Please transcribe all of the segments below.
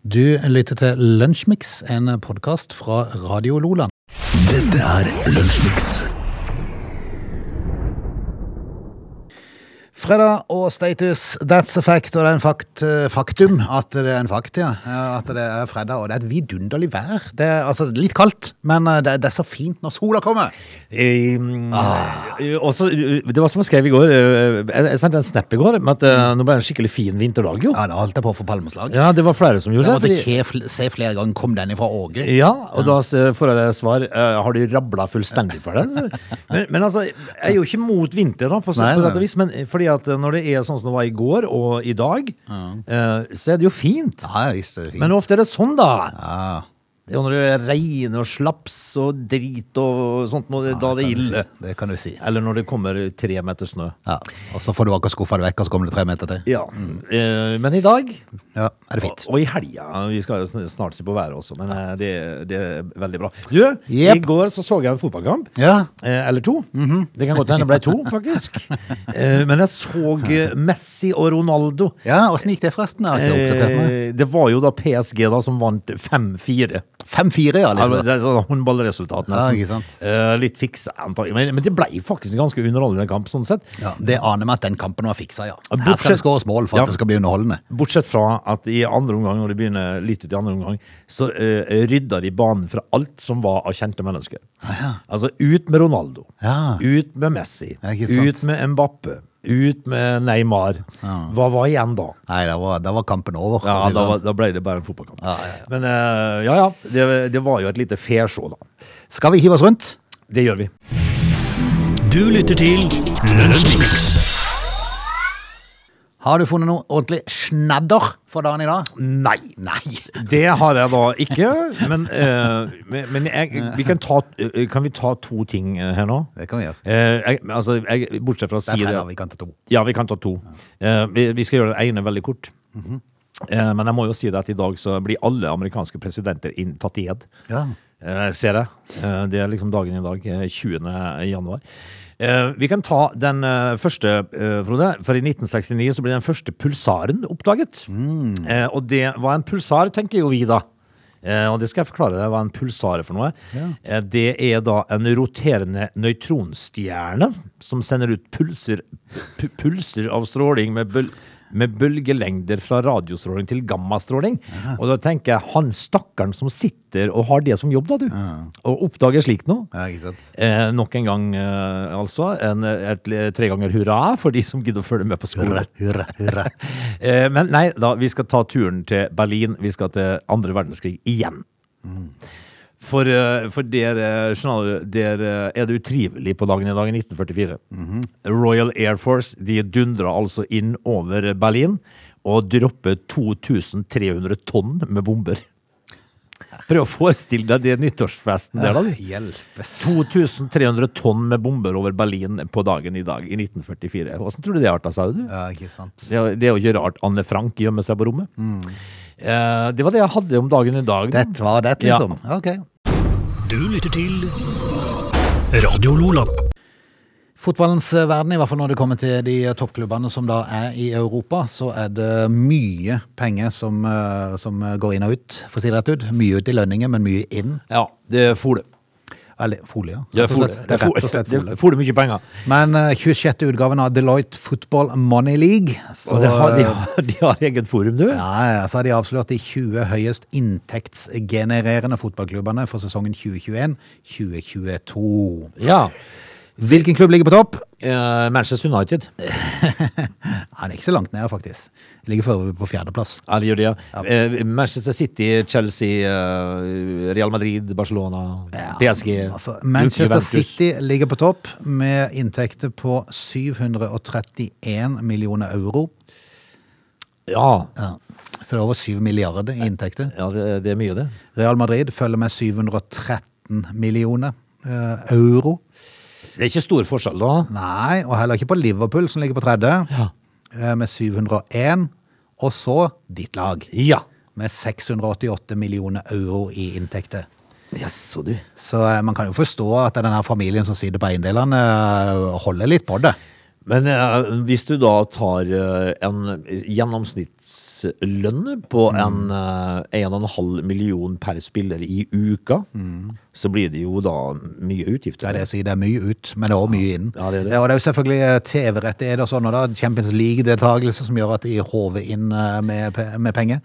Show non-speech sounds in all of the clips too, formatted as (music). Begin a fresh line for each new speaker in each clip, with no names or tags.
Du lytter til Lunsjmix, en podkast fra Radio Loland.
Dette er Lunsjmix.
Fredag og status, that's a fact, og det er en fakt, faktum at det er en fakt, ja. At det er fredag, og det er et vidunderlig vær. Det er altså litt kaldt, men eh, det, det er så fint når sola kommer.
Eh, eh, også, eh, det var som jeg skrev i går, eh, jeg jeg sendte en snap i går med at eh, nå ble det en skikkelig fin vinterdag, jo.
Mm. Ja, det holdt jeg på å få palmeslag.
Ja, det var flere som
Jeg
gjorde
måtte
det. fordi-
kje fl- se flere ganger kom den ifra Åge.
Ja, og da s- får jeg det svar eh, Har de rabla fullstendig for det? Men, men altså, jeg er jo ikke mot vinter, da, på, så-
Nei,
på
nei.
sett og vis. Men fordi at eh, når det er sånn som det var i går og i dag, eh, så er det jo fint.
Ja, visst er det fint.
Men ofte er det sånn, da.
Ja,
Det er jo når det regner og slaps og drit og sånt, når det, da det er ille.
det kan du si.
Eller når det kommer tre meter snø.
Ja, og så får du akkurat skuffa det vekk, og så kommer det tre meter til.
Ja, eh, men i dag
Ja, er det
og,
fint.
og i helga Vi skal jo sn- snart se på været også, men eh, det, det er veldig bra. Du, i
Jep.
går så så jeg en fotballkamp.
Ja,
Eh, eller to.
Mhm.
Det kan godt hende det ble to,
(laughs)
faktisk. Eh, men jeg så eh, Messi og Ronaldo.
ja åssen gikk det forresten? Jeg har ikke oppdatert meg.
Eh, det var jo da PSG da som vant 5-4.
5-4, ja,
Altså,
Elisabeth.
det er sånn håndballresultat,
Ja,
nesten.
ikke sant.
Eh, litt fiksa, antagelig. Men, men det ble faktisk en ganske underholdende kamp, sånn sett.
Ja, det aner meg at den kampen var fiksa, ja.
Ja,
Her skal det
bortsett-
skåres mål for at
Ja.
det skal bli underholdende.
Bortsett fra at i andre omgang, når det begynner litt ut i andre omgang, så eh, rydda de banen fra alt som var av kjente mennesker. Altså ut med Ronaldo,
Ja.
ut med Messi,
Ja, ikke sant.
ut med Mbappe, ut med Neymar. Hva var igjen da?
Nei, da var, da var kampen over. for
Ja,
å si det
da,
sånn.
var- da ble det bare en fotballkamp.
Ja, ja, ja.
Men eh, ja, ja, det, det var jo et lite fesjå da.
Skal vi hive oss rundt?
Det gjør vi.
Du lytter til Lunsjmix.
Har du funnet noe ordentlig snadder for dagen i dag?
Nei.
(laughs) Nei.
Det har jeg da ikke, men, eh, men, men jeg, vi kan, ta, eh, kan vi ta to ting eh, her nå?
Det kan vi gjøre.
Eh, jeg, men altså, jeg, bortsett fra å
Det
si
er
det
fredag, vi kan ta to.
Ja, vi kan ta to. Eh, vi, vi skal gjøre det ene veldig kort.
Mhm.
Eh, men jeg må jo si det at i dag så blir alle amerikanske presidenter inn, tatt i ed.
Ja.
Eh, ser jeg. Eh, det er liksom dagen i dag, eh, 20. januar. Eh, vi kan ta den eh, første, eh, Frode. For i 1969 så ble den første pulsaren oppdaget. Eh, og det var en pulsar, tenker jo vi da. Eh, og det skal jeg forklare deg hva en pulsar er for noe. Eh, det er da en roterende nøytronstjerne som sender ut pulser, pu- pulser av stråling med bøl med bølgelengder fra radiostråling til gammastråling. Og da tenker jeg han stakkaren som sitter og har det som jobb, da, du. Og oppdager slikt noe.
ja, ikke sant.
Eh, nok en gang, eh, altså. En, et, tre ganger hurra for de som gidder å følge med på skolen.
Hurra, hurra, hurra.
Eh, men nei da, vi skal ta turen til Berlin. Vi skal til andre verdenskrig igjen. For, eh, for der, eh, skjønner du, der eh, er det utrivelig på dagen i dag i 1944. Royal Air Force de dundra altså inn over Berlin og droppet 2300 tonn med bomber. Prøv å forestille deg det nyttårsfesten der, da. du.
Hjelpes.
2300 tonn med bomber over Berlin på dagen i dag i 1944. Hvordan tror du det arta seg? du?
Ja, ikke sant.
Det er, det er jo ikke rart Anne Frank gjemmer seg på rommet. Eh, det var det jeg hadde om dagen i dag. da.
Mm. Det var det, liksom. Ok.
Du lytter til Radio Lola.
Fotballens verden, i hvert fall når det kommer til de toppklubbene som da er i Europa, så er det mye penger som, eh, som går inn og ut, for å si det rett ut. Mye ut i lønninger, men mye inn.
Ja, det er fole.
Eller folie, ja.
Det
Rett
er
og
fole.
slett.
Det er
rett og
fole.
slett
Det
folie.
er fole mye penger.
Men eh, 26. utgaven av Deloitte Football Money League, så
Og det har, de,
eh,
har, de har eget forum, du.
ja, ja, så har de avslørt de 20 høyest inntektsgenererende fotballklubbene for sesongen 2021-2022.
Ja.
Hvilken klubb ligger på topp?
Eh, Manchester United.
Nei, det er ikke så langt ned, faktisk. Ligger for øvrig på fjerdeplass.
Ja, de gjør det, ja. Eh, Manchester City, Chelsea, eh, Real Madrid, Barcelona, PSG
Altså, Manchester
Juventus.
City ligger på topp med inntekter på 731 millioner euro.
Ja,
Ja. Så det er over 7 milliarder i inntekter.
ja det, det er mye, det.
Real Madrid følger med 713 millioner eh, euro.
Det er ikke stor forskjell, da.
Mm. Nei, og heller ikke på Liverpool, som ligger på tredje,
Ja.
eh, med 701. Og så ditt lag,
Ja.
med 688 millioner euro i inntekter.
Jaså, du.
Så eh, man kan jo forstå at denne familien som sitter på eiendelene, eh, holder litt på det.
Men eh, hvis du da tar eh, en gjennomsnittslønn på en,
Mm.
eh, en og en halv million per spiller i uka, så blir det jo da mye
Mm.
utgifter.
Det er det jeg sier, det er mye ut, men det er også mye inn.
Ja, det er det.
Eh, Og det er jo selvfølgelig eh, TV-rettigheter og sånn, og da Champions League-deltakelse som gjør at de håver inn eh, med, pe- med penger.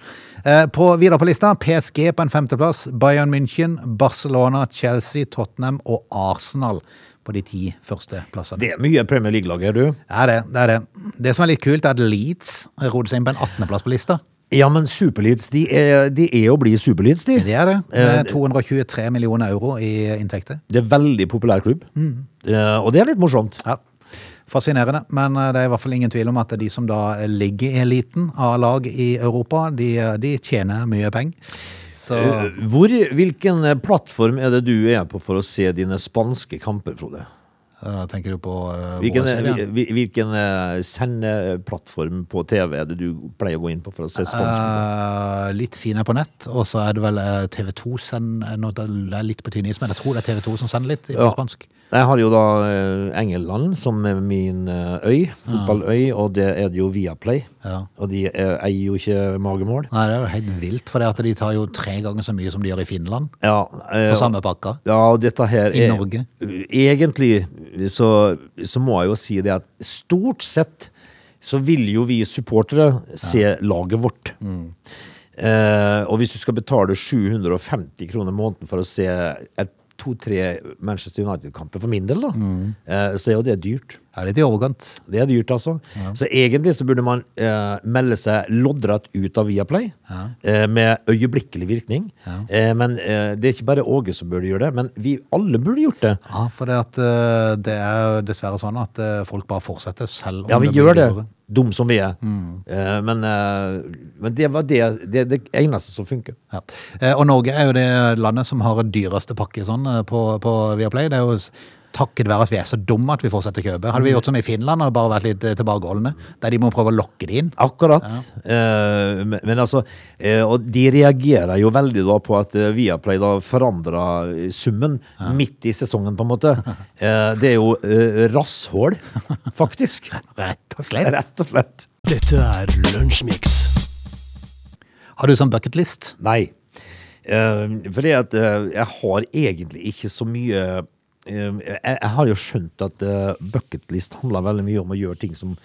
Eh, På, videre på lista, PSG på en femteplass, Bayern München, Barcelona, Chelsea, Tottenham og Arsenal på de ti første plassene.
Det er mye Premier League-lag her, du.
Det er det, det er det. Det som er litt kult, er at Leeds rodde seg inn på en 18.-plass på lista.
Ja, men Superleeds, de er, de er og blir Superleeds, de.
Det er det.
Eh,
Med 223 millioner euro i inntekter.
Det er en veldig populær klubb,
Mm.
Eh, og det er litt morsomt.
Ja. Fascinerende, men eh, det er i hvert fall ingen tvil om at de som da ligger i eliten av lag i Europa, de, eh, de tjener mye penger. Så
Eh, Hvor, hvilken eh, plattform er det du er på for å se dine spanske kamper, Frode?
eh, tenker du på eh,
Hvilken,
vår serie?
hvil- hvilken eh, sendeplattform på TV er det du pleier å gå inn på for å se spansk?
Eh, litt finere på nett, og så er det vel eh, TV2 sender nå, det er litt på tynn is, men jeg tror det er TV2 som sender litt på
Ja.
spansk.
Jeg har jo da eh, England som er min eh, øy, fotballøy, og det er det jo Viaplay.
Ja.
Og de eh, eier jo ikke magemål.
Nei, det er jo helt vilt, for det at de tar jo tre ganger så mye som de gjør i Finland,
Ja, eh,
for sånn samme pakka.
ja, og dette her
I
er
Norge.
Egentlig så, så må jeg jo si det at stort sett så vil jo vi supportere se laget vårt.
Mm.
Eh, og hvis du skal betale 750 kroner måneden for å se et to-tre Manchester United-kamper, for min del, da,
Mm.
eh, så er jo det dyrt.
Det er litt i overkant.
Det er dyrt, altså. Så egentlig så burde man eh, melde seg loddrett ut av Viaplay, eh, med øyeblikkelig virkning. Eh, men eh, det er ikke bare Åge som burde gjøre det, men vi alle burde gjort det.
Ja, for det, at, eh, det er jo dessverre sånn at eh, folk bare fortsetter selv om
Ja, vi
det blir
gjør det,
dyrere.
dum som vi er. Eh, men, eh, men det var det, det, det eneste som funker.
Ja. Eh, Og Norge er jo det landet som har dyreste pakke sånn eh, på, på Viaplay. Det er jo s- takket være at vi er så dumme at vi fortsetter å kjøpe. Hadde vi gjort som i Finland og bare vært litt eh, tilbakeholdne, der de må prøve å lokke det inn.
Akkurat. Eh, men, men altså, eh, og de reagerer jo veldig da på at eh, Viaplay da forandra summen midt i sesongen, på en måte. Eh, det er jo eh, rasshål, faktisk.
(laughs) Rett og slett.
Rett og slett.
Dette er Lunsjmix.
Har du sånn bucketlist?
Nei. Eh, fordi at eh, jeg har egentlig ikke så mye eh, jeg, jeg har jo skjønt at eh, bucketlist handler veldig mye om å gjøre ting som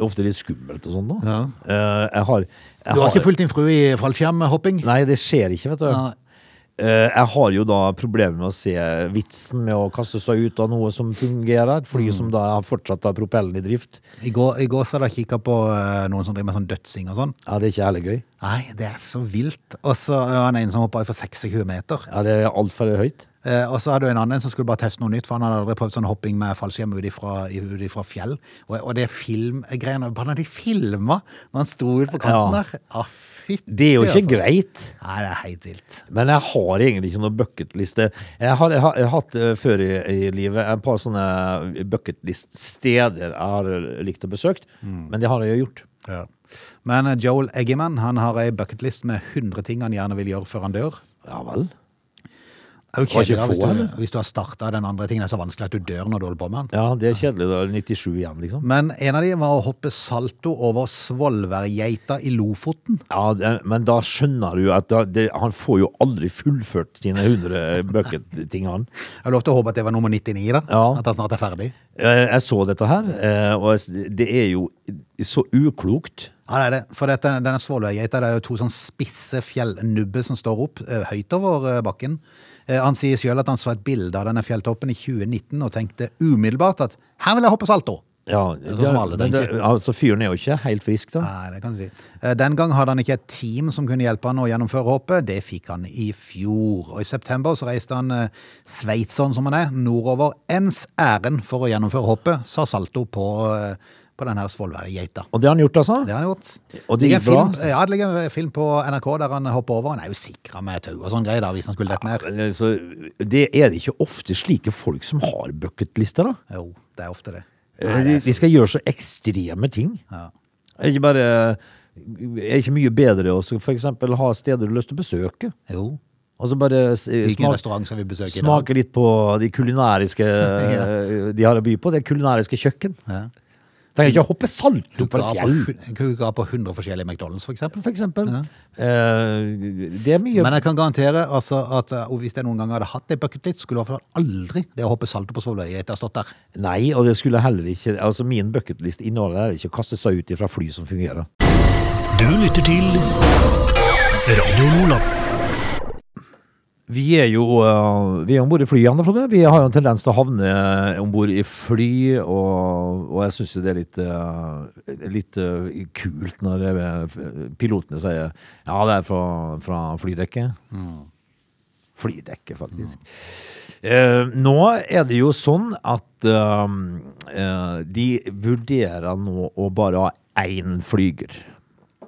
ofte er litt skummelt og sånn. da.
Ja.
Eh, jeg har, jeg
Du har ikke fulgt din frue i fallskjermhopping?
Nei, det skjer ikke, vet du.
Nei.
Eh, jeg har jo da problemer med å se vitsen med å kaste seg ut av noe som fungerer. Et fly som da har fortsatt har propellen i drift.
I går, i går så hadde jeg kikka på eh, noen som driver med sånn dødsing og sånn.
Ja, Det er ikke heller gøy.
Nei, det er så vilt. Og så var det en som hoppa for 26 meter.
Ja, Det er altfor høyt.
Eh, og så hadde du en annen som skulle bare teste noe nytt, for han hadde aldri prøvd sånn hopping med fallskjerm ut ifra, ut ifra fjell. Og, og det filmgreiene Bare når de filma når han sto ut på kanten
Ja.
der! Ah, fytti,
Det er jo ikke
altså.
greit.
Nei, det er helt vilt.
Men jeg har egentlig ikke noen bucketliste. Jeg har, jeg har, jeg har hatt eh, før i, i livet et par sånne bucketlist-steder jeg har eh, likt å besøkt, men det har jeg jo gjort.
Men eh, Joel Eggiman han har ei bucketlist med 100 ting han gjerne vil gjøre før han dør.
Ja vel.
Det er jo
Var ikke
kjedelig da, hvis,
få,
du,
eller?
hvis du har starta den andre tingen. Det er så vanskelig at du dør når du holder på med den.
Ja, det er kjedelig. Da er det 97 igjen, liksom.
Men en av de var å hoppe salto over Svolværgeita i Lofoten.
Ja, det, Men da skjønner du at da, det, han får jo aldri fullført sine 100 bucket-ting, han.
Jeg har lov til å håpe at det var nummer 99, da.
Ja.
At han snart er ferdig.
Eh, Jeg så dette her, eh, og jeg s- det er jo så uklokt.
Ja, det er det. For dette, denne svolværgeita det er jo to sånn spisse fjellnubber som står opp eh, høyt over eh, bakken. Eh, Han sier sjøl at han så et bilde av denne fjelltoppen i 2019 og tenkte umiddelbart at her vil jeg hoppe salto!
Ja,
er sånn som alle
det- det-
tenker.
altså, fyren er jo ikke helt frisk, da.
Nei, det kan du si. Eh, Den gang hadde han ikke et team som kunne hjelpe han å gjennomføre hoppet. Det fikk han i fjor. Og i september så reiste han eh, sveitseren som han er, nordover ens ærend for å gjennomføre hoppet, sa salto på, eh, på denne svolværgeita.
Og det har han gjort, altså?
Det har han gjort.
Og det
ligger
gikk bra?
en Film, ja, det ligger en film på NRK der han hopper over. Han er jo sikra med tau og sånn greier da, hvis han skulle dette ned.
Men, altså, det er det ikke ofte slike folk som har bucketlister, da.
Jo, det er ofte det.
de, de skal gjøre så ekstreme ting.
Ja.
Er ikke bare er ikke mye bedre å så for eksempel ha steder du har lyst til å besøke.
Jo.
Og så bare s-
Hvilken
smak-
restaurant skal vi besøke i dag? (laughs)
smake litt på de kulinariske de har å by på. Det kulinariske kjøkken.
Ja.
Trenger ikke å hoppe salto på et fjell,
Jeg kan jo ikke ha på 100 forskjellige McDonald's, for eksempel.
for eksempel. Eh, det er mye
Men jeg kan garantere altså, at eh, og hvis jeg noen gang hadde hatt det bucket list, skulle i hvert fall aldri det å hoppe salto på Svolvøya etter å ha stått der.
Nei, og det skulle heller ikke Altså, min bucketlist inneholder ikke å kaste seg ut ifra fly som fungerer.
Du lytter til Radio Lola.
Vi er jo øh, Vi er om bord i fly, Anne Frode. Vi har jo en tendens til å havne om bord i fly, og, og jeg syns jo det er litt, øh, litt øh, kult når det, er- pilotene sier Ja, det er fra, fra flydekket. Flydekket, faktisk. Eh, nå er det jo sånn at øh, eh, de vurderer nå å bare ha én flyger.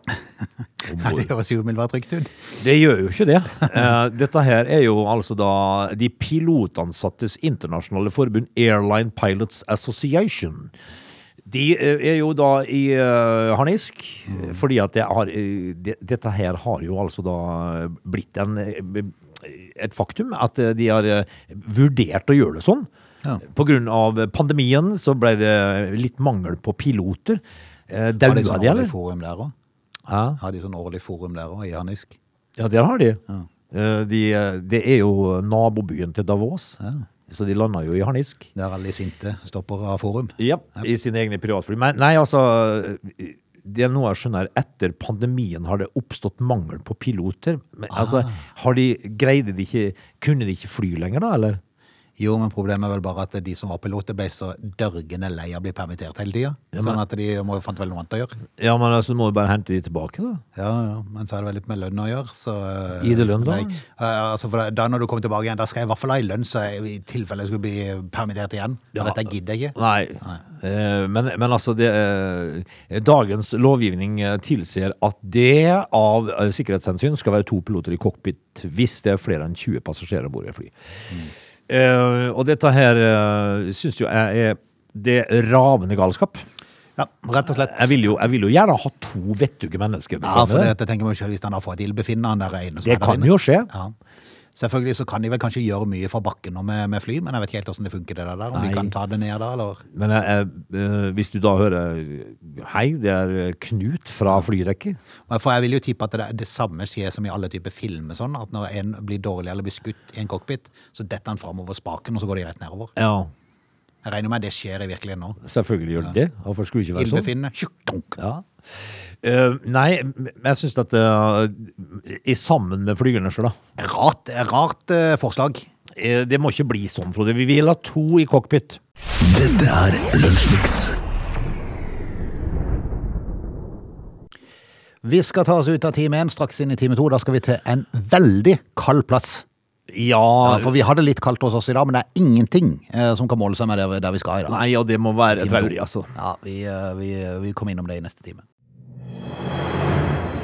om
Nei,
bord.
det høres jo umiddelbart trygt ut.
Det gjør jo ikke det. Eh, Dette her er jo altså da de pilotansattes internasjonale forbund Airline Pilots Association. De eh, er jo da i eh, harnisk,
Mm.
fordi at det har, eh, det, dette her har jo altså da blitt en, eh, et faktum at eh, de har eh, vurdert å gjøre det sånn.
Ja.
På grunn av pandemien så ble det litt mangel på piloter. Eh,
Har
Daua
de sånn
de,
årlig
eller?
forum der òg?
Hæ?
Har de sånn årlig forum der òg, i Harnisk?
Ja, der har de. Eh, de eh, det er jo nabobyen til Davos, så de landa jo i harnisk.
Der alle de sinte stopper av forum?
Ja, I sine egne privatfly. Men nei, altså Det er noe jeg skjønner. Etter pandemien har det oppstått mangel på piloter. Men, altså, har de, greide de ikke Kunne de ikke fly lenger, da, eller?
Jo, men problemet er vel bare at de som var piloter, ble så dørgende lei av å bli permittert hele tida. Sånn at de må fant vel noe annet å gjøre.
Ja, men altså, må du bare hente de tilbake, da.
Ja, ja, Men så har det vel litt med lønn å gjøre. Så, eh,
I det lønn,
så
da?
ble jeg- Ja, altså, for da- da når du kommer tilbake igjen, da skal jeg i hvert fall ha i lønn, så jeg, i tilfelle jeg skulle bli permittert igjen.
Ja.
For Dette gidder jeg ikke.
Nei. Eh, Men, men altså, det, eh, dagens lovgivning eh, tilsier at det av eh, sikkerhetshensyn skal være to piloter i cockpit hvis det er flere enn 20 passasjerer om bord i et fly. Eh, og dette her uh, syns jo jeg er det er ravende galskap.
Ja, rett og slett.
Jeg vil jo, jeg vil jo gjerne ha to vettuge mennesker.
Ja, for
bestående.
det, det tenker man selv hvis han har fått ildbefinnende, han der ene som
det
er der
kan
inne.
jo skje.
Ja. Selvfølgelig så kan de vel kanskje gjøre mye fra bakken og med, med fly, men jeg vet ikke helt hvordan det funker det der, om
Nei.
de kan ta det ned da, eller...
Men jeg, jeg, eh, hvis du da hører eh, Hei, det er Knut fra flydekket.
Men For jeg vil jo tippe at det, det samme skjer som i alle typer filmer sånn, at når en blir dårlig eller blir skutt i en cockpit, så detter han fremover spaken, og så går de rett nedover.
Ja,
Jeg regner med at det skjer i virkeligheten nå.
selvfølgelig gjør det det. Hvorfor skulle det ikke være sånn?
Ildbefinnende, tjukk, dunk.
Ja. Eh, nei, men jeg syns at eh, i Sammen med flygerne sjøl, da.
Rart, rart eh, forslag.
Eh, det må ikke bli sånn, Frode. Vi vil ha to i cockpit.
Dette er Lunsjmix.
Vi skal ta oss ut av time 1, straks inn i time 2. Da skal vi til en veldig kald plass. Ja,
Ja,
for vi har det litt kaldt hos oss i dag, men det er ingenting eh, som kan måle seg med der, der vi skal i dag.
Nei, ja, det må være
Time
traurig,
to.
altså.
Ja, vi, eh, vi, vi kommer innom det i neste time.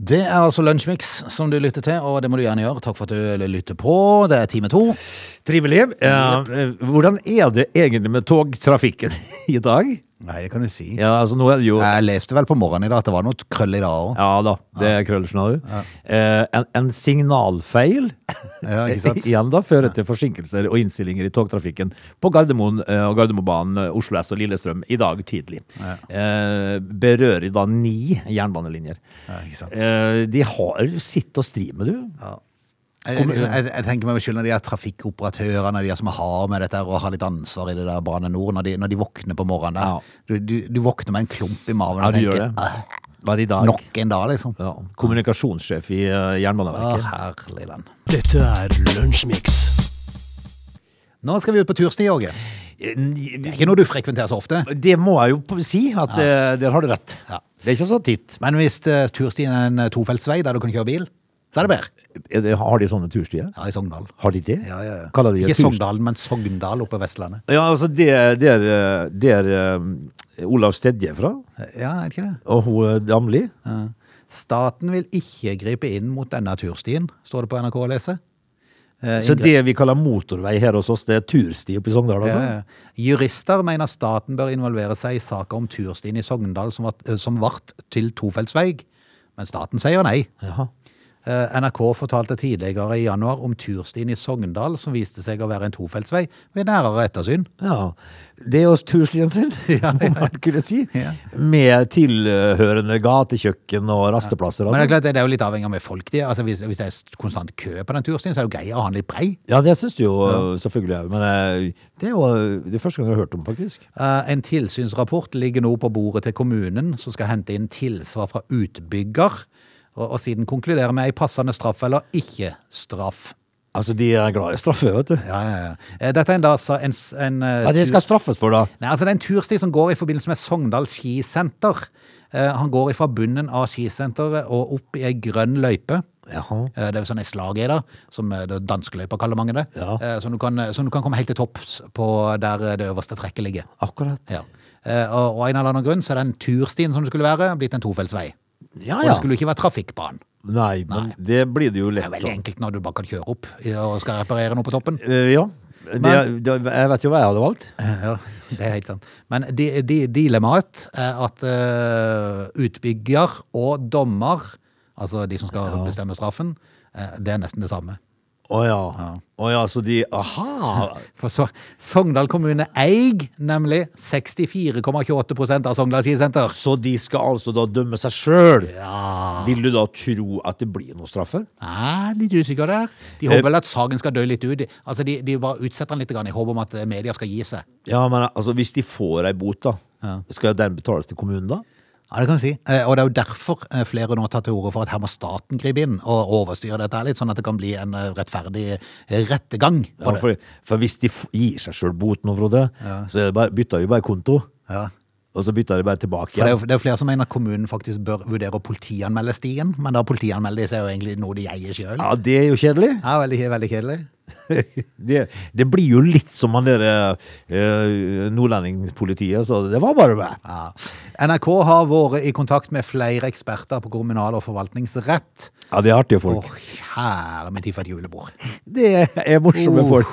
Det er altså Lunsjmix som du lytter til, og det må du gjerne gjøre. Takk for at du eh, lytter på. Det er time to.
Trivelig. Eh, eh, hvordan er det egentlig med togtrafikken (laughs) i dag?
Nei, det kan du si.
Ja, altså, nå er det jo
Jeg leste vel på morgenen i dag at det var noe krøll i dag òg.
Ja da, det er krøll, skjønner du. Eh, en, en signalfeil (laughs)
Ja, ikke sant?
igjen da, fører til forsinkelser og innstillinger i togtrafikken på Gardermoen eh, og Gardermobanen, eh, Oslo S og Lillestrøm i dag tidlig. Eh, berører da ni jernbanelinjer.
Ja, ikke sant.
Eh, de har sitt og stri med, du.
Jeg, jeg, jeg tenker meg skyld når de er trafikkoperatørene, de er som har med dette her og har litt ansvar i det der Bane Nor, når de, når de våkner på morgenen der.
Ja.
Du, du, du våkner med en klump i magen
Ja,
og
du gjør
tenker
det.
"Åh,
Bare i dag.
Nok en dag, liksom.
Ja, kommunikasjonssjef i eh,
Å,
Jernbaneverket.
herlig den.
Dette er Lunsjmix.
Nå skal vi ut på tursti, Åge.
Eh,
Det er ikke noe du frekventerer så ofte.
Det må jeg jo si, at eh, der har du rett.
Ja.
Det er ikke så titt.
Men hvis eh, turstien er en eh, tofeltsvei der du kan kjøre bil, så er det bedre.
Er Eh, det- Har de sånne turstier?
Ja, i Sogndal.
Har de det?
Ja, ja, ja.
Kaller de det
Ikke
turst- altså,
Sogndalen, men Sogndal oppe på Vestlandet.
Ja, altså det, det er, det er Olav Stedje fra,
Ja, er det ikke det?
og hun eh, Damli.
Ja. Staten vil ikke gripe inn mot denne turstien, står det på NRK å lese. Eh,
Så
inngrep-
det vi kaller motorvei her hos oss, det er tursti oppe i Sogndal, altså?
Ja, ja. Eh, Jurister mener staten bør involvere seg i saker om turstien i Sogndal som vart- eh, som vart til tofeltsvei, men staten sier nei.
Jaha.
Eh, NRK fortalte tidligere i januar om turstien i Sogndal som viste seg å være en tofeltsvei ved nærere ettersyn.
Ja. Det er jo turstien sin, (laughs) må man kunne si.
Ja.
Med tilhørende gatekjøkken og rasteplasser.
Men det er
Altså.
klart, det er jo litt avhengig av hvor folk de er. Altså, hvis, hvis det er konstant kø på den turstien, så er det jo greit å ha den litt brei.
Ja, det syns du jo selvfølgelig òg, men eh, det er jo eh, det er første gang jeg har hørt om, faktisk.
Eh, En tilsynsrapport ligger nå på bordet til kommunen, som skal hente inn tilsvar fra utbygger, og, og siden konkluderer med ei passende straff eller ikke straff.
Altså, de er glad i straffe, vet du.
Ja, ja, ja. Eh, Dette er en, da, sa- en, s- en, eh,
Ja, det
tur-
skal straffes for, da.
Nei, altså det er en tursti som går i forbindelse med Sogndal skisenter. Eh, Han går fra bunnen av skisenteret og opp i ei grønn løype.
Jaha.
Eh, Det er jo sånn ei slageider, som eh, det er danskeløypa kaller mange det.
Ja.
Eh, Som, du kan, som du kan komme helt til topps på der eh, det øverste trekket ligger.
Akkurat.
Ja. Eh, Og og av en eller annen grunn så er den turstien som det skulle være, blitt en tofeltsvei.
Ja,
Og
ja.
det skulle jo ikke være trafikkbanen.
Nei, men det blir det jo
Det er
lett.
veldig
av.
enkelt når du bare kan kjøre opp eh, og skal reparere noe på toppen.
Eh, ja. Det, det, jeg vet jo hva jeg hadde valgt.
Eh, Ja, det er helt sant. Men di- di- dilemmaet er at eh, utbygger og dommer, altså de som skal bestemme straffen, eh, det er nesten det samme.
Å ja. Å ja, så de Aha!
For så, Sogndal kommune eier nemlig 64,28 av Sogndal skisenter.
Så de skal altså da dømme seg sjøl?
Ja.
Vil du da tro at det blir noen straffer?
Nei, Ah, litt usikker der. De håper vel at saken skal dø litt ut. Altså, de, de bare utsetter den litt grann, i håp om at eh, media skal gi seg.
Ja, men altså, hvis de får ei bot, da, skal den betales til kommunen da?
Ja, det kan du si. Eh, Og det er jo derfor eh, flere nå tar til orde for at her må staten gripe inn og overstyre dette her litt, sånn at det kan bli en eh, rettferdig eh, rettegang
Ja,
på det.
for, for hvis de f gir seg sjøl bot nå, Frode, så er det bare, bytter vi bare konto.
Ja.
Og så bytter de bare tilbake
For det er,
igjen.
jo, det er jo flere som mener at kommunen faktisk bør vurdere å politianmelde stien, men da politianmelde disse er jo egentlig noe de eier sjøl.
Ja, det er jo kjedelig.
Ja, veldig, veldig kjedelig.
Det, det blir jo litt som han der eh, nordlendingspolitiet, så det var bare meg.
Ja. NRK har vært i kontakt med flere eksperter på kommunal- og forvaltningsrett.
Ja, det er artige
Å,
folk.
kjære min tid for et julebord.
Det er morsomme folk.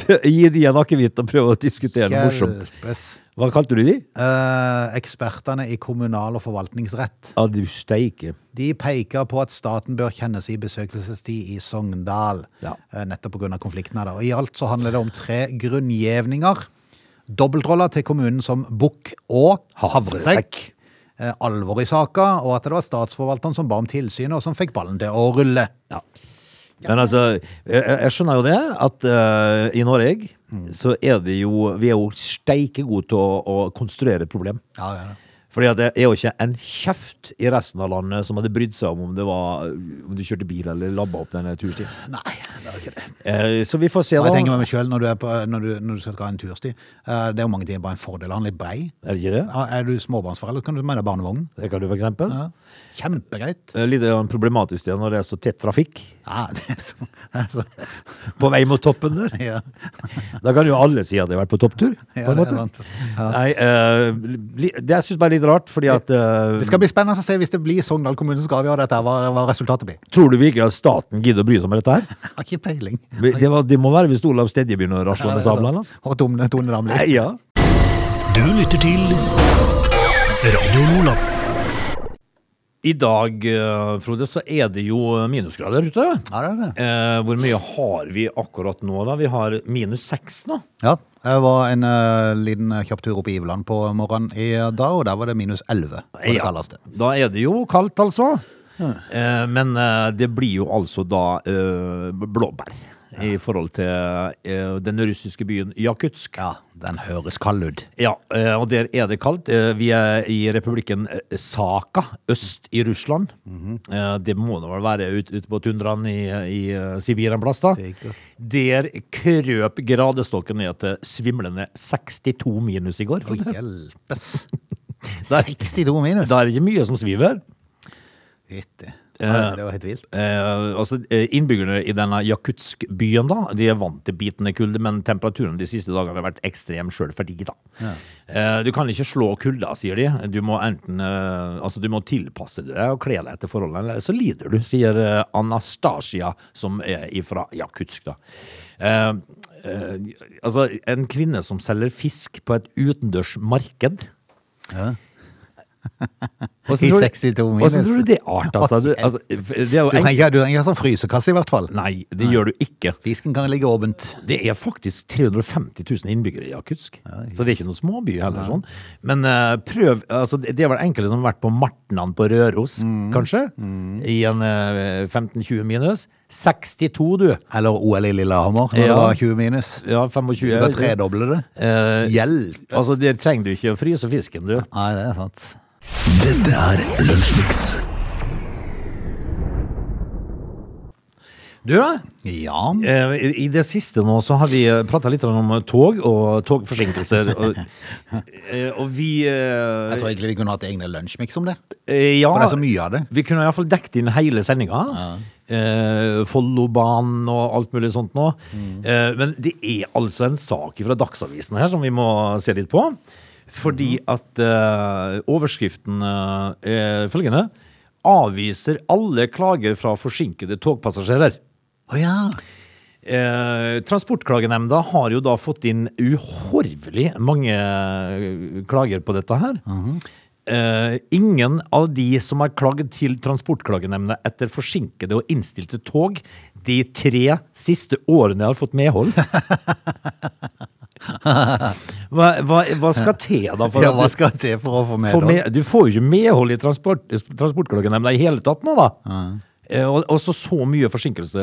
Prø- Gi de en akevitt og prøv å diskutere det morsomt.
Hjelpes.
Hva kalte du de?
Eh, ekspertene i kommunal- og forvaltningsrett.
Ja, du steike.
De peker på at staten bør kjenne sin besøkelsestid i Sogndal,
Ja.
eh, nettopp pga. konflikten her. da. Og I alt så handler det om tre grunngjevninger. Dobbeltroller til kommunen som bukk og havresekk. Eh, Alvor i saka, og at det var statsforvalteren som ba om tilsynet, og som fikk ballen til å rulle.
Ja. Men altså, jeg, jeg jeg skjønner jo det, at eh, i Norge så er det jo Vi er jo steike gode til å, å konstruere et problem.
Ja, ja, ja.
Fordi at det er jo ikke en kjeft i resten av landet som hadde brydd seg om om, det var, om du kjørte bil eller labba opp denne turstien.
Nei, det er jo ikke det.
Eh, så vi får se,
Og
da.
jeg tenker med meg selv når du, er på, eh, når du, når du skal ha en tursti, eh, det er jo mange timer bare en fordel å ha den litt brei.
Er det ikke det?
Ja, Er du småbarnsforelder, kan du med deg barnevognen.
Det kan du, for eksempel.
Ja. Kjempegreit.
Eh, Litt eh, problematisk det når det er så tett trafikk
Ja, (laughs) det er så, det er så
på vei mot toppen der.
(laughs) ja.
Da kan jo alle si at de har vært på topptur. På
Ja,
en
det er
måte.
sant.
Nei, eh, li- det syns jeg bare er litt rart, fordi at eh,
Det skal bli spennende å se hvis det blir Sogndal kommune som skal avgjøre dette, her, hva, hva resultatet blir.
Tror du virkelig at staten gidder å bry seg om dette her?
Jeg har ikke peiling.
Det, var, det må være hvis Olav Stedje begynner å rasle
Ja,
med
det er sant.
sablene. Altså.
Og Tone Tone Damli.
Nei, ja.
Du lytter til Radio Lola.
I dag, eh, Frode, så er det jo minusgrader ute.
Ja, det er det.
Eh, hvor mye har vi akkurat nå, da? Vi har minus seks nå.
Ja, jeg var en eh, liten eh, kjapp tur opp i Iveland på morgenen i dag, og der var det minus 11 på det
Ja,
kaldeste.
Da er det jo kaldt, altså. Eh, men eh, det blir jo altså da eh, blåbær i forhold til eh, den russiske byen Jakutsk.
Ja, den høres kald ut.
Ja, eh, og der er det kaldt. Eh, Vi er i republikken eh, Saka, øst i Russland. Eh, Det må nå vel være ut- ute på tundraen i, i eh, Sibir en plass, da.
Sikkert.
Der krøp gradestokken ned til svimlende 62 minus i går.
Å, (laughs) hjelpes. 62 minus.
Da er det ikke mye som sviver.
Vittig. Ja, det var helt vilt.
Eh, altså eh, Innbyggerne i denne Jakutsk-byen da, de er vant til bitende kulde, men temperaturen de siste dagene har vært ekstrem sjøl for de. da. Eh, du kan ikke slå kulda, sier de. Du må enten eh, altså du må tilpasse deg og kle deg etter forholdene, eller så lider du, sier eh, Anastasia, som er fra Jakutsk. da. Eh, eh, altså, en kvinne som selger fisk på et utendørs marked Hvordan
I
tror du-
62 minus.
Hvordan tror du det arter seg? Du- Altså, det er jo
Du trenger ikke- du trenger ikke ha sånn frysekasse, i hvert fall.
Nei, det gjør du ikke.
Fisken kan ligge åpent.
Det er faktisk 350 000 innbyggere i Jakutsk, så det er ikke noen småby heller. sånn. Men eh, prøv altså, Det det er vel enkelte som har vært på Martnan på Røros,
Mm.
kanskje, i en eh, 15-20 minus. 62, du!
Eller OL i Lillehammer, når
Ja.
det var 20 minus.
Ja, 25.
Du kan tredoble det.
Eh,
Hjelpes.
Altså, der trenger du ikke å fryse fisken, du.
Nei, det er sant.
Dette er Lunsjmix.
Du,
Ja.
Eh, I i det siste nå så har vi prata litt om tog og togforsinkelser.
(laughs)
Og, eh, og vi eh,
Jeg tror egentlig vi kunne hatt egne lunsjmix om det.
eh, ja,
For det er så mye av det.
Vi kunne iallfall dekket inn hele sendinga. Eh, Follobanen og alt mulig sånt nå. Eh, men det er altså en sak fra Dagsavisen her som vi må se litt på. Fordi at eh, overskriften eh, er følgende Avviser alle klager fra forsinkede togpassasjerer.
Å ja.
Eh, Transportklagenemnda har jo da fått inn uhorvelig mange eh, klager på dette her.
Mhm.
eh, ingen av de som har klagd til Transportklagenemnda etter forsinkede og innstilte tog de tre siste årene har
(laughs)
fått medhold. hva, hva, hva skal til da for
ja. Hva
at
skal til for å få
du
med
får
det?
med, Du får jo ikke medhold i transport, Transportklagenemnda i hele tatt nå, da. Eh, og, og så så mye forsinkelse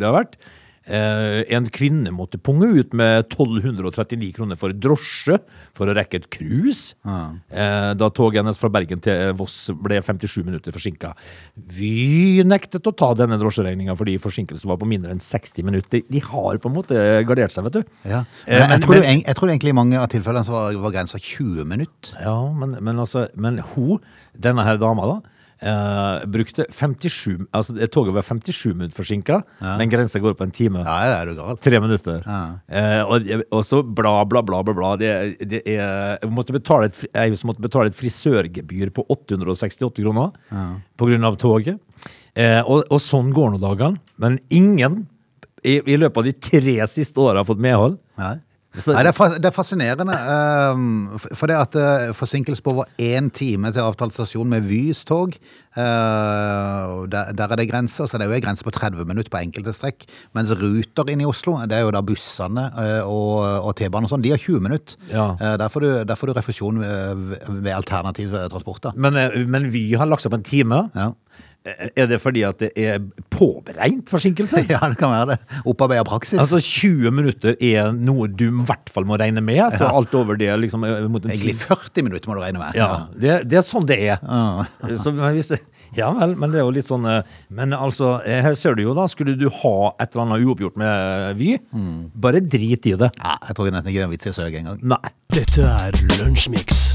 det har vært. Eh, en kvinne måtte punge ut med 1239 kroner for drosje for å rekke et cruise. Eh, da toget hennes fra Bergen til Voss ble 57 minutter forsinka. Vy nektet å ta denne drosjeregninga fordi forsinkelsen var på mindre enn 60 minutter. De har på en måte gardert seg, vet du.
Ja.
Eh,
Men
men-
jeg tror,
men-
jo eng- jeg tror egentlig i mange av tilfellene så var, var grensa 20 minutter.
Ja, men, men altså Men hun, denne her dama da eh, brukte 57 Altså det toget var 57 minutter forsinka, men grensa går på en time.
Ja, ja, er du gal?
Tre minutter. Eh, og, og så bla, bla, bla, bla. bla. Det, det er, jeg, måtte betale et, fri- jeg måtte betale et frisørgebyr på 868 kroner på grunn av toget. Eh, og, og sånn går nå dagene. Men ingen i, i løpet av de tre siste åra har fått medhold.
Nei.
Så-
Nei, det, er fas det er fascinerende. ehm, f- for det at eh, forsinkelse på over én time til avtalt stasjon med Vys tog, eh, og der, der er det grenser. Så det er jo en grense på 30 minutter på enkelte strekk. Mens ruter inn i Oslo, det er jo da bussene eh, og, og T-banen og sånn, de har 20 minutter.
Ja.
Eh, der, får du, der får du refusjon ved, ved- ved alternativ eh, transport. da.
Men, eh, men Vy har lagt seg på en time.
Ja.
Eh, Er det fordi at det er påberegnt forsinkelse?
ja, det kan være det. Opparbeida praksis.
Altså 20 minutter er noe du i hvert fall må regne med, så alt over det er liksom eh, mot en
Egentlig
tid.
40 minutter må du regne med.
Ja, det, det er sånn det er. Så, men hvis, ja vel, men det er jo litt sånn eh, Men altså, eh, her ser du jo da, skulle du ha et eller annet uoppgjort med eh, Vy,
Mm.
bare drit i det.
Ja, jeg tror nesten ikke det er en vits i å søke engang.
Nei.
Dette er Lunsjmix.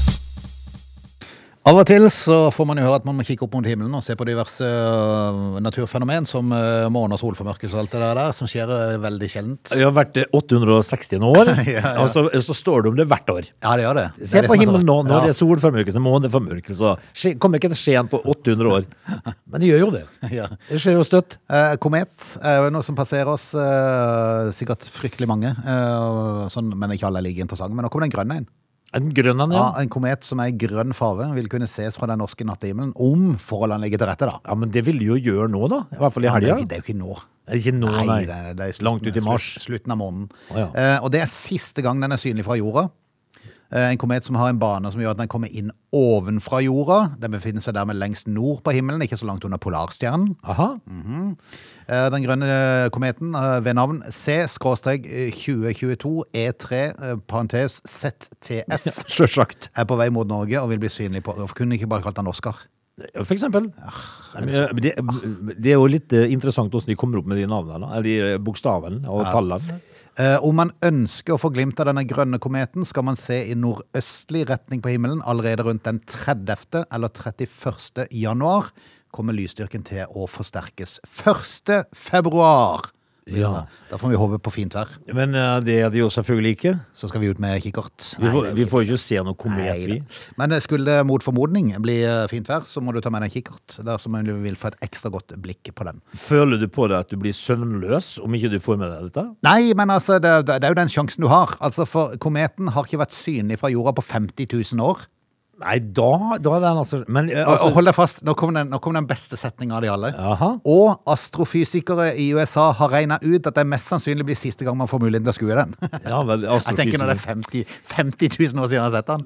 Av og til så får man jo høre at man må kikke opp mot himmelen og se på diverse øh, naturfenomen som øh, måne og solformørkelse og alt det der, der som skjer øh, veldig sjeldent.
Vi har vært eh, 860 år,
(laughs) ja.
og så, eh, så står det om det hvert år.
Ja, det gjør det. Det
Se
er det
på
som er så
himmelen nå,
rart.
nå er
Ja.
det solformørkelse, måneformørkelse. Skje- Kommer ikke til å skje igjen på 800 år.
(laughs)
Men det gjør jo det.
Ja.
Det skjer jo støtt.
Eh, komet er jo noe som passerer oss, eh, sikkert fryktelig mange, eh, sånn, men ikke alle er like interessante. Men nå kommer det en grønn en.
En grønn en,
Ja,
ja.
en komet som er i grønn farve vil kunne ses fra den norske nattehimmelen om forholdene ligger til rette, da.
Ja, men det vil de jo gjøre nå, da. I hvert fall i
Men
helga.
Det, er jo ikke- det er jo ikke nå.
Er det Ikke nå, nei.
Nei, det er, det er slutten,
Langt ut i mars.
Slutt, slutten av måneden.
Å, ja.
Eh, og det er siste gang den er synlig fra jorda. Eh, en komet som har en bane som gjør at den kommer inn ovenfra jorda. Den befinner seg dermed lengst nord på himmelen, ikke så langt under polarstjernen.
Aha.
Mm. Eh, den grønne eh, kometen eh, ved navn eh, C-2022 E3 eh, parentes
(laughs)
ZTF
Sjølsagt.
er på vei mot Norge og vil bli synlig på Hvorfor kunne de ikke bare kalt den Oscar?
For eksempel.
Ah,
Eh, Det, det er jo litt eh, interessant hvordan de kommer opp med de navnene, da. eller de eh, bokstavene og tallene.
Eh, om man ønsker å få glimt av denne grønne kometen, skal man se i nordøstlig retning på himmelen allerede rundt den 30. eller 31. januar. kommer lysstyrken til å forsterkes 1. februar.
Ja.
Da får vi håpe på fint vær.
Men eh, det er det jo selvfølgelig ikke.
Så skal vi ut med kikkert.
Vi får,
det er
vi
jo
får jo ikke se noe
ikke-
komet,
Nei
vi.
da. Men eh, skulle det mot formodning bli eh, fint vær, så må du ta med deg kikkert. Dersom du vil få et ekstra godt blikk på den.
Føler du på deg at du blir søvnløs om ikke du får med deg dette?
Nei, men altså, det, det det er jo den sjansen du har. Altså, For kometen har ikke vært synlig fra jorda på 50 000 år.
Nei, da, da er den altså Men eh,
Og, og
altså
hold deg fast, nå kom den, nå kom den beste setninga av de alle.
Jaha.
Og astrofysikere i USA har regna ut at det mest sannsynlig blir siste gang man får muligheten til å skue den. (laughs)
Ja, vel, altså,
Jeg tenker når det er
astrofysiker.
50, 50 000 år siden jeg har sett den.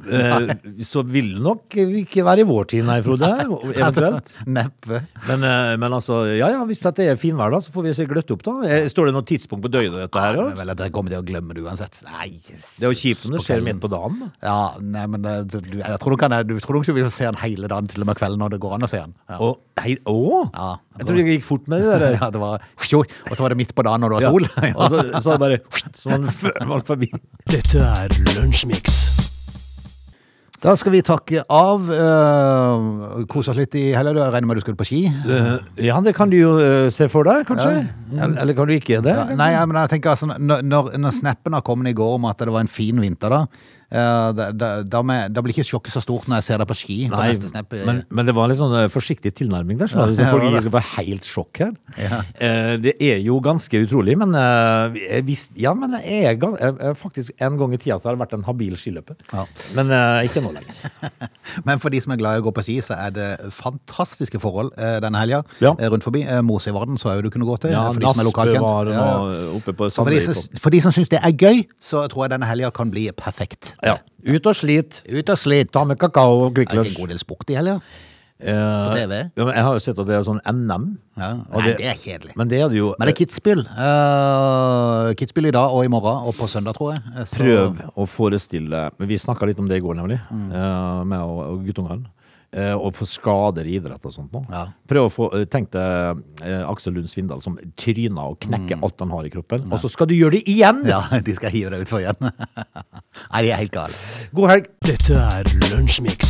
Eh, Så vil det nok ikke være i vår tid, nei, Frode. Eventuelt.
(laughs) Neppe.
Men, eh, men altså, ja ja, hvis dette er finvær, da, så får vi se gløtt opp, da. Eh, Står det noe tidspunkt på døgnet, dette her?
Men
eller?
vel, Dere kommer til å glemme det uansett. Nei.
Det er jo kjipt om det skjer midt på dagen. da.
Ja, nei, men det- du, jeg tror du, kan, eh, du tror nok ikke vi får se den hele dagen, til og med kvelden, når det går an å se den. Ja.
Å, hei, å!
Ja,
Jeg trodde det gikk fort med
(laughs)
det der.
Ja, det var, og så var det midt på dagen når det var sol.
Eh. Ja. Og
(laughs)
så, så er det bare Så man fø- man forbi.
Dette er Lunsjmix.
Da skal vi takke av. Uh, Kose oss litt i helga. Jeg regner med du skulle på ski?
Eh, Ja, det kan du jo eh, se for deg, kanskje. Eller, eller kan du ikke det?
Ja, nei, ja, men jeg tenker altså, når, når, når snappen har kommet i går om at det var en fin vinter, da eh, da, da, da, med, da blir ikke sjokket så stort når jeg ser deg på ski. på
Nei,
neste snap.
men, men det var litt sånn eh, forsiktig tilnærming der, så
det
folk
var
ikke
det.
skal få helt sjokk her. Eh, Det er jo ganske utrolig, men eh, hvis, ja, men jeg er gan- jeg- jeg- faktisk en gang i tida så har jeg vært en habil skiløper.
Ja.
Men eh, ikke nå lenger.
Men for de som er glad i å gå på ski, så er det fantastiske forhold eh, denne helga
Ja.
eh, rundt forbi. Eh, Mosevarden så jeg jo du kunne gå til,
Ja,
eh, for de som er
Naspø
lokalkjent.
var
Ja.
nå oppe på
Så For de,
Sandøy. på-
som, for de som syns det er gøy, så tror jeg denne helga kan bli perfekt.
Ja. Ut og slit.
Ut og slit.
Ta med kakao og Kvikk
Er det ikke
Lunsj.
en god del sport i helga?
Eh,
TV?
Ja, men jeg har jo sett at det er sånn NM.
Ja.
Og
Nei, det er kjedelig.
Men det er det jo.
Men det er Kitzbühel. Eh, Kitzbühel i dag og i morgen og på søndag, tror jeg. Eh, Så,
Prøv å forestille men Vi snakka litt om det i går, nemlig,
Mm.
eh, med og, og guttungene. eh, og få skader i idrett og sånt nå.
Ja.
Prøv å få eh, Tenk deg eh, Aksel Lund Svindal som tryner og knekker alt han har i kroppen, og så skal du gjøre det igjen!
Mm. Ja, (laughs) de skal hive deg utfor igjen. (laughs) Nei, de er helt gale.
God helg!
Dette er Lunsjmix.